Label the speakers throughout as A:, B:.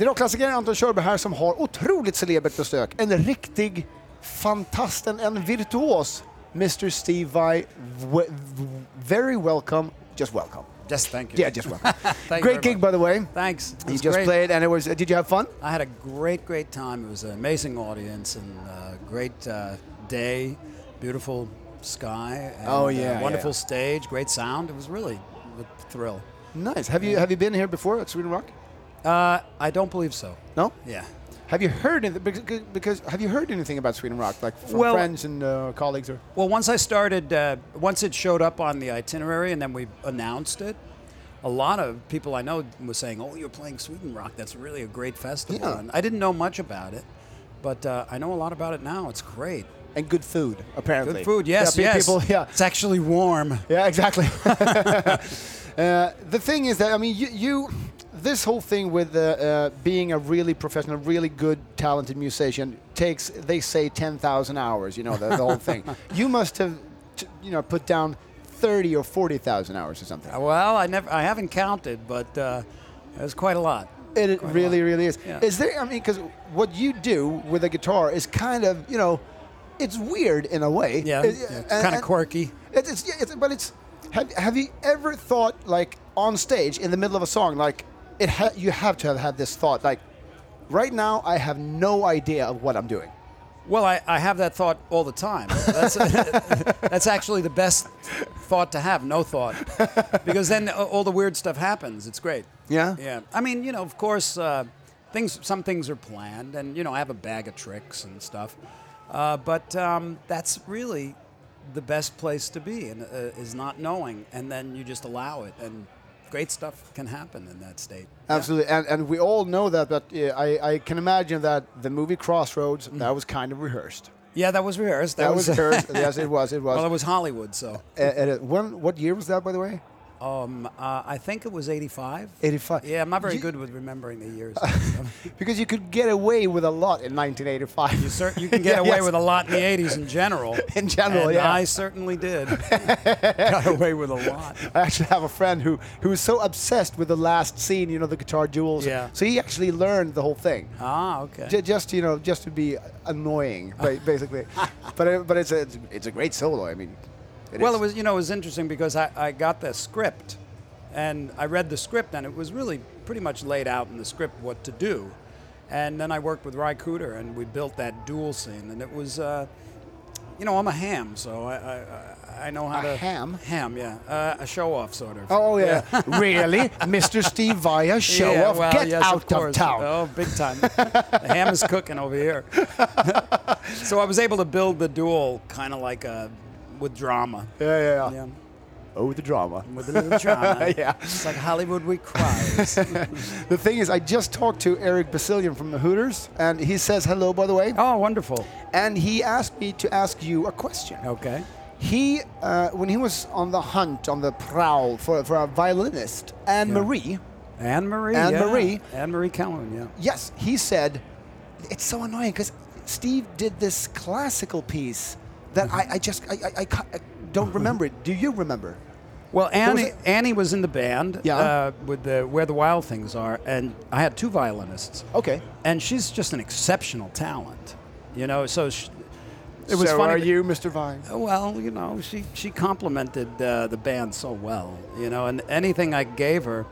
A: Det är rockklassikern Anton Körberg här som har otroligt celebert besök. En riktig fantasten, en virtuos. Mr Steve Vai, w- w- very welcome, just welcome.
B: Yes, thank you.
A: Yeah, just welcome.
B: Thank you
A: great
B: very
A: gig,
B: much.
A: by the way.
B: Thanks. It
A: You
B: was
A: just
B: great.
A: played, and it was. did you have fun?
B: I had a great, great time. It was an amazing audience and a great uh, day, beautiful sky. And
A: Oh,
B: uh,
A: yeah, yeah,
B: wonderful
A: yeah.
B: stage, great sound. It was really a thrill.
A: Nice. Have you have you been here before at Sweden Rock?
B: Uh, I don't believe so.
A: No.
B: Yeah.
A: Have you heard anything? Because, because have you heard anything about Sweden Rock, like from
B: Well-
A: friends and uh, colleagues or?
B: Well, once I started, uh, once it showed up on the itinerary and then we announced it, a lot of people I know were saying, "Oh, you're playing Sweden Rock. That's really a great festival."
A: Yeah.
B: And I didn't know much about it, but uh, I know a lot about it now. It's great.
A: And good food, apparently.
B: Good food. Yes,
A: yeah, pe-
B: yes.
A: People, yeah.
B: It's actually warm.
A: Yeah, exactly. uh, the thing is that I mean, you, you this whole thing with uh, uh, being a really professional, really good, talented musician takes they say ten thousand hours. You know the, the whole thing. You must have, t- you know, put down thirty or forty thousand hours or something.
B: Well, I never, I haven't counted, but uh, it was quite a lot.
A: It it really, really is.
B: Yeah.
A: Is there? I mean, because what you do with a guitar is kind of, you know, it's weird in a way.
B: Yeah,
A: It-
B: yeah, it's
A: and-
B: kinda
A: and-
B: quirky.
A: It, it's, yeah, it's, but it's. Have, have you ever thought like on stage in the middle of a song like it? Ha- you have to have had this thought like, right now I have no idea of what I'm doing.
B: Well, I, I have that thought all the time. That's, that's actually the best thought to have, no thought. Because then a- all the weird stuff happens. It's great.
A: Yeah?
B: Yeah. I mean, you know, of course, uh, things. some things are planned, and, you know, I have a bag of tricks and stuff. Uh, but um, that's really the best place to be, and uh, is not knowing. And then you just allow it, and great stuff can happen in that state. Yeah.
A: Absolutely, and and we all know that, but uh, I I can imagine that the movie Crossroads that was kind of rehearsed.
B: Yeah, Mm. that was rehearsed.
A: That, was rehearsed. yes, it was. It was.
B: Well, it was Hollywood, so.
A: Uh, uh, when, what year was that, by the way?
B: Um, uh, I think it was 85.
A: 85.
B: Yeah, I'm not very
A: You-
B: good with remembering the years.
A: Because you could get away with a lot in 1985.
B: you, cer- you can get
A: Yeah,
B: away
A: yes.
B: with a lot in the 80s in general.
A: In general,
B: and
A: yeah.
B: I certainly did. Got away with a lot.
A: I actually have a friend who who is so obsessed with the last scene, you know, the guitar duels.
B: Yeah.
A: So he actually learned the whole thing.
B: Ah, okay.
A: J- just you know, just to be annoying, ba- basically. but it, but it's a it's a great solo. I mean,
B: well,
A: is.
B: it was you know it was interesting because I, I got the script, and I read the script, and it was really pretty much laid out in the script what to do, and then I worked with Ry Cooter, and we built that duel scene, and it was, uh, you know, I'm a ham, so I I, I- I know how
A: A
B: to
A: ham?
B: ham, yeah, uh, a show off sort of.
A: Oh yeah, really, Mr. Steve Vaya, show
B: Yeah,
A: off,
B: well,
A: get
B: yes,
A: out of,
B: course.
A: town.
B: Oh, big time. the ham is cooking over here. so I was able to build the duel kind of like a, with drama.
A: Yeah, yeah, yeah.
B: Yeah,
A: Oh, the drama.
B: with a little drama.
A: Yeah.
B: It's like Hollywood we cries.
A: The thing is, I just talked to Eric Basilian from the Hooters, and he says hello, by the way.
B: oh, wonderful.
A: and he asked me to ask you a question.
B: Okay.
A: He, uh, when he was on the hunt, on the prowl for, for a violinist, Anne Marie,
B: Anne Marie.
A: Anne
B: yeah.
A: Marie.
B: Anne Marie Calhoun, yeah.
A: yes, he said, it's so annoying because Steve did this classical piece that I, I just, I, I, I ca- I don't remember it. Do you remember?
B: Well,
A: was
B: Annie,
A: it?
B: Annie was in the band
A: Yeah.
B: uh, with the Where the Wild Things Are, and I had two violinists.
A: Okay.
B: And she's just an exceptional talent, you know. So sh it was
A: so
B: funny.
A: are
B: that-
A: you, Mr. Vine?
B: Well, you know, she she complimented uh, the band so well, you know, and anything I gave her,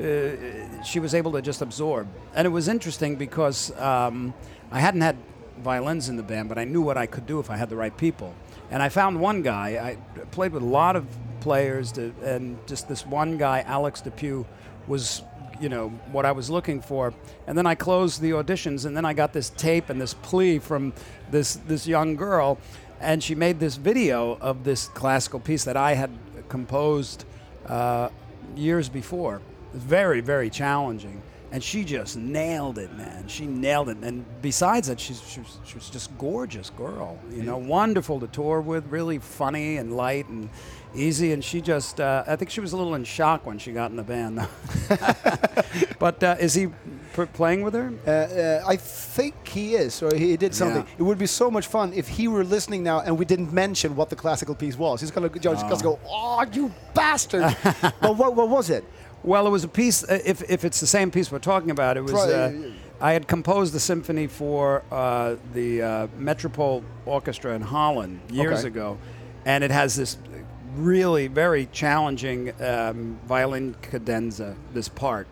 B: uh, she was able to just absorb. And it was interesting because um, I hadn't had violins in the band, but I knew what I could do if I had the right people. And I found one guy. I played with a lot of players, to, and just this one guy, Alex Depew, was you know what I was looking for. And then I closed the auditions, and then I got this tape and this plea from this this young girl, and she made this video of this classical piece that I had composed uh, years before. Very very challenging, and she just nailed it, man. She nailed it. And besides that, she's she was, she was just gorgeous girl. You know, wonderful to tour with, really funny and light and. Easy, and she just—I think she was a little in shock when she got in the band. But uh, is he pr- playing with her?
A: Uh, uh, I think he is, or he did something.
B: Yeah.
A: It would be so much fun if he were listening now and we didn't mention Ah. what the classical piece was. He's gonna, he's gonna go, "Oh, you bastard!" but what, what was it?
B: Well, it was a piece. uh, If if it's the same piece we're talking about, it was.
A: Probably-
B: Uh, I had composed the symphony for uh, the uh, Metropole Orchestra in Holland years
A: Okay.
B: ago, and it has this really very challenging um, violin cadenza. This part,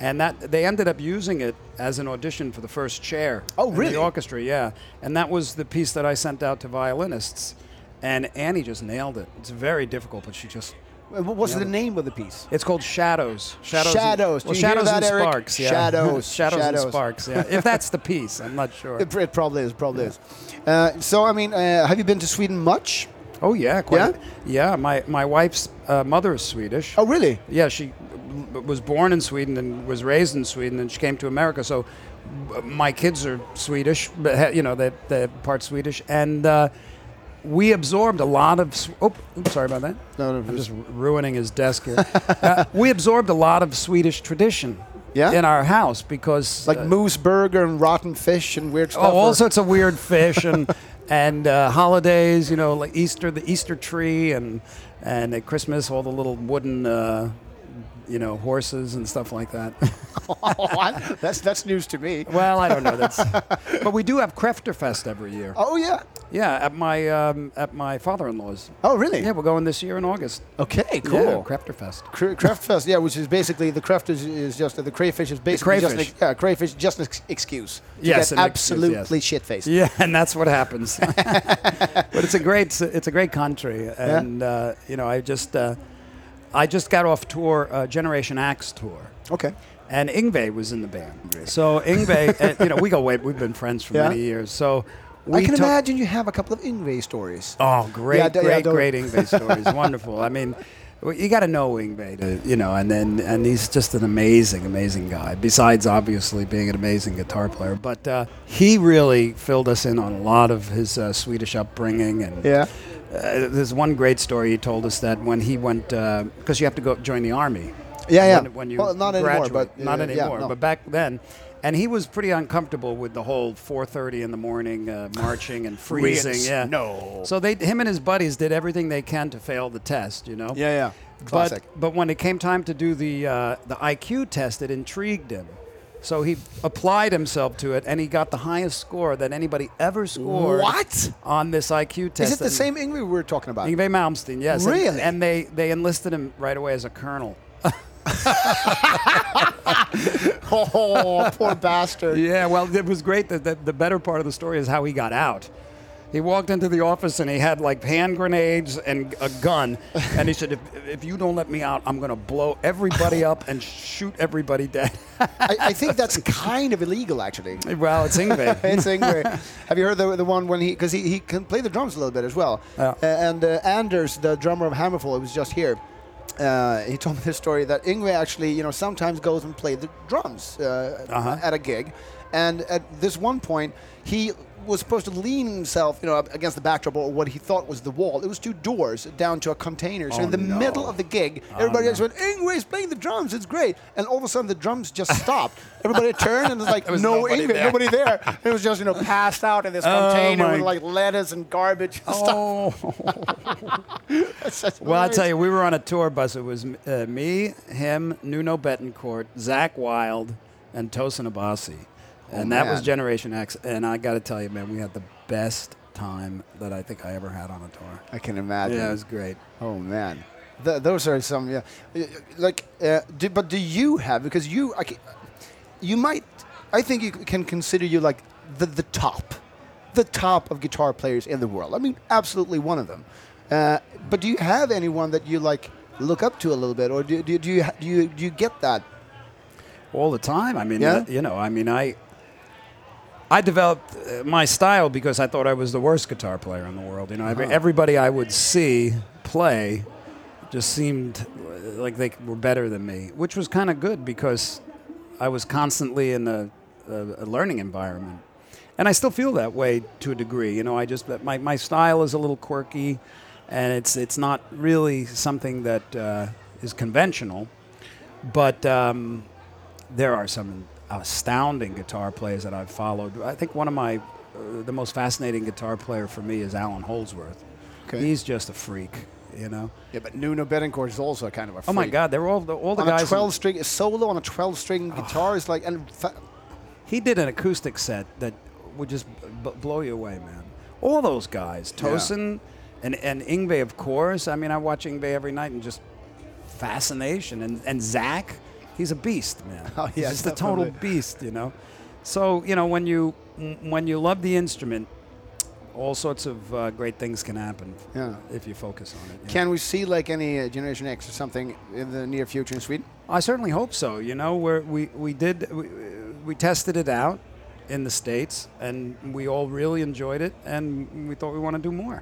B: and that they ended up using it as an audition for the first chair.
A: Oh,
B: in
A: really?
B: The orchestra, yeah, and that was the piece that I sent out to violinists, and Annie just nailed it. It's very difficult, but she just
A: Uh, What was the name of the piece?
B: it's called Shadows. Shadows.
A: Shadows. Do
B: And, well,
A: you hear
B: shadows
A: that,
B: and
A: Eric?
B: sparks. Yeah.
A: Shadows.
B: shadows.
A: Shadows.
B: and sparks. Yeah. If that's the piece, I'm not sure.
A: It, it probably is. Probably is. Uh, so I mean, uh, have you been to Sweden much?
B: Oh yeah. Quite yeah. My my wife's uh, mother is Swedish.
A: Oh, really?
B: Yeah, she w- was born in Sweden and was raised in Sweden, and she came to America. So uh, my kids are Swedish, but ha- you know they're, they're part Swedish, and uh, we absorbed a lot of. Sw- oh, oops, sorry about that.
A: No, no,
B: I'm
A: just-
B: just r- ruining his desk here. uh, we absorbed a lot of Swedish tradition
A: Yeah?
B: in our house because
A: Like
B: uh,
A: moose burger and rotten fish and weird stuff.
B: Oh, all
A: or-
B: sorts of weird fish and and uh, holidays. You know, like Easter, the Easter tree, and and at Christmas, all the little wooden. Uh, you know, horses and stuff like that.
A: Oh, that's that's news to me.
B: well, I don't know. That's, but we do have Krefterfest every year.
A: Oh yeah.
B: Yeah, at my um, at my father-in-law's.
A: Oh really?
B: Yeah, we're going this year in August.
A: Okay.
B: Yeah,
A: Oh, Cool.
B: Krefterfest.
A: Cra- Craft Fest, yeah, which is basically the craft is, is just the crayfish is basically
B: crayfish.
A: just an, ex- yeah, crayfish just an ex- excuse. to
B: Yes,
A: get
B: an excuse,
A: absolutely
B: yes.
A: shit faced.
B: Yeah, and that's what happens. but it's a great it's a great country, and uh, you know I just uh, I just got off tour uh, Generation Axe tour,
A: Okay.
B: and Ingve was in the band. So Ingve, uh, you know we go way we've been friends for
A: Yeah.
B: many years. So we
A: I can
B: took-
A: imagine you have a couple of Ingve stories.
B: Oh, great,
A: Yeah, d- yeah,
B: great,
A: don't-
B: great Ingve stories. Wonderful. I mean, well, you got to know Ingve, to, you know, and then and he's just an amazing, amazing guy. Besides, obviously, being an amazing guitar player, but uh, he really filled us in on a lot of his uh, Swedish upbringing and.
A: Yeah.
B: Uh, there's one great story he told us that when he went, because you have to go join the army.
A: Yeah, yeah.
B: When, when you
A: Well, not anymore,
B: graduate.
A: but,
B: not
A: uh, yeah,
B: anymore.
A: no.
B: But back then, and he was pretty uncomfortable with the whole 4:30 in the morning uh, marching and freezing. yeah.
A: snow.
B: So they, him and his buddies, did everything they can to fail the test. You know.
A: Yeah, yeah. Classic.
B: But but when it came time to do the uh, the IQ test, it intrigued him. So he applied himself to it, and he got the highest score that anybody ever scored.
A: What?
B: on this IQ test?
A: Is it the
B: and-
A: same Ingve we were talking about?
B: Yngwie Malmsteen, yes. And-
A: Really?
B: And, they, they enlisted him right away as a colonel.
A: Oh, poor bastard.
B: Yeah, well, it was great. That the, the better part of the story is how he got out. He walked into the office and he had like hand grenades and a gun. And he said, If, if you don't let me out, I'm going to blow everybody up and shoot everybody dead.
A: I, I think that's kind of illegal, actually.
B: well, it's Ingve.
A: it's Ingve. Have you heard the, the one when he because he, he can play the drums a little bit as well.
B: Yeah.
A: Uh, and uh, Anders, the drummer of Hammerfall, who was just here. Uh, he told me this story that Ingve actually, you know, sometimes goes and play the drums uh,
B: Uh-huh.
A: at a gig, and at this one point he was supposed to lean himself, you know, up against the backdrop or what he thought was the wall. It was two doors down to a container. So
B: Oh,
A: in the
B: no. Oh,
A: middle of the gig, everybody
B: no.
A: just went, "Ingve's playing the drums. It's great!" And all of a sudden, the drums just stopped. everybody turned and was like,
B: was
A: "No,
B: nobody
A: Ingve,
B: there.
A: nobody there. It was just, you know, passed out in this
B: Oh,
A: container with
B: my-
A: like lettuce and garbage and stuff.
B: Oh.
A: It's just
B: Well, I'll
A: hilarious.
B: tell you, we were on a tour bus. It was uh, me, him, Nuno Betancourt, Zach Wild, and Tosin Abasi. And that was
A: Oh, man.
B: Generation X. And I got to tell you, man, we had the best time that I think I ever had on a tour.
A: I can imagine.
B: Yeah, it was great.
A: Oh, man. Th- those are some, yeah. Uh, Like, uh, do, but do you have, because you, I ca- you might, I think you c- can consider you like the, the top, the top of guitar players in the world. I mean, absolutely one of them. Uh, but do you have anyone that you like look up to a little bit, or do, do, do, you, ha- do, you, do you get that?
B: all the time. I mean,
A: Yeah?
B: uh, you know, I mean, I I developed uh, my style because I thought I was the worst guitar player in the world. You know, every, everybody I would see play just seemed uh, like they were better than me, which was kind of good because I was constantly in a, a, a learning environment. And I still feel that way to a degree. You know, I just but my, my style is a little quirky, and it's it's not really something that uh, is conventional. But um, there are some astounding guitar players that I've followed. I think one of my uh, the most fascinating guitar player for me is Alan Holdsworth.
A: Okay.
B: He's just a freak. you know.
A: Yeah, but Nuno Betancourt is also kind of a freak.
B: Oh my God, they're all the, all the
A: On
B: guys.
A: a 12 string solo on a 12 string guitar is like and fa-
B: he did an acoustic set that would just b- blow you away, man. All those guys, Tosin and and Ingve, of course. I mean, I watch Ingve every night and just fascination. And and Zach, he's a beast, man.
A: Oh,
B: he's
A: yeah,
B: just a total
A: definitely.
B: beast, you know. So you know when you when you love the instrument, all sorts of uh, great things can happen.
A: Yeah.
B: if you focus on it. yeah.
A: can we see like any uh, Generation X or something in the near future in Sweden?
B: I certainly hope so. You know, where we we did we, we tested it out in the states, and we all really enjoyed it, and we thought we want to do more.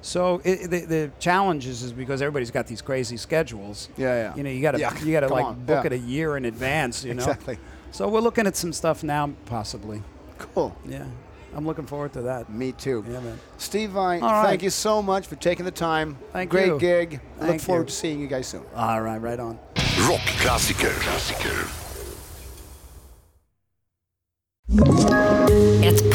B: So it, the the challenge is, is because everybody's got these crazy schedules.
A: Yeah, yeah.
B: You know, you gotta
A: Yeah,
B: you gotta
A: come
B: like
A: on,
B: book
A: yeah.
B: it a year in advance. You know.
A: Exactly.
B: So we're looking at some stuff now, possibly.
A: Cool.
B: Yeah, I'm looking forward to that.
A: Me too.
B: Yeah, man.
A: Steve Vine,
B: All right.
A: thank you so much for taking the time.
B: Thank
A: Great
B: you.
A: gig. Look
B: Thank
A: forward to
B: you.
A: seeing you guys soon.
B: All right, right on.
C: Rockklassiker. Klassiker.
D: Ett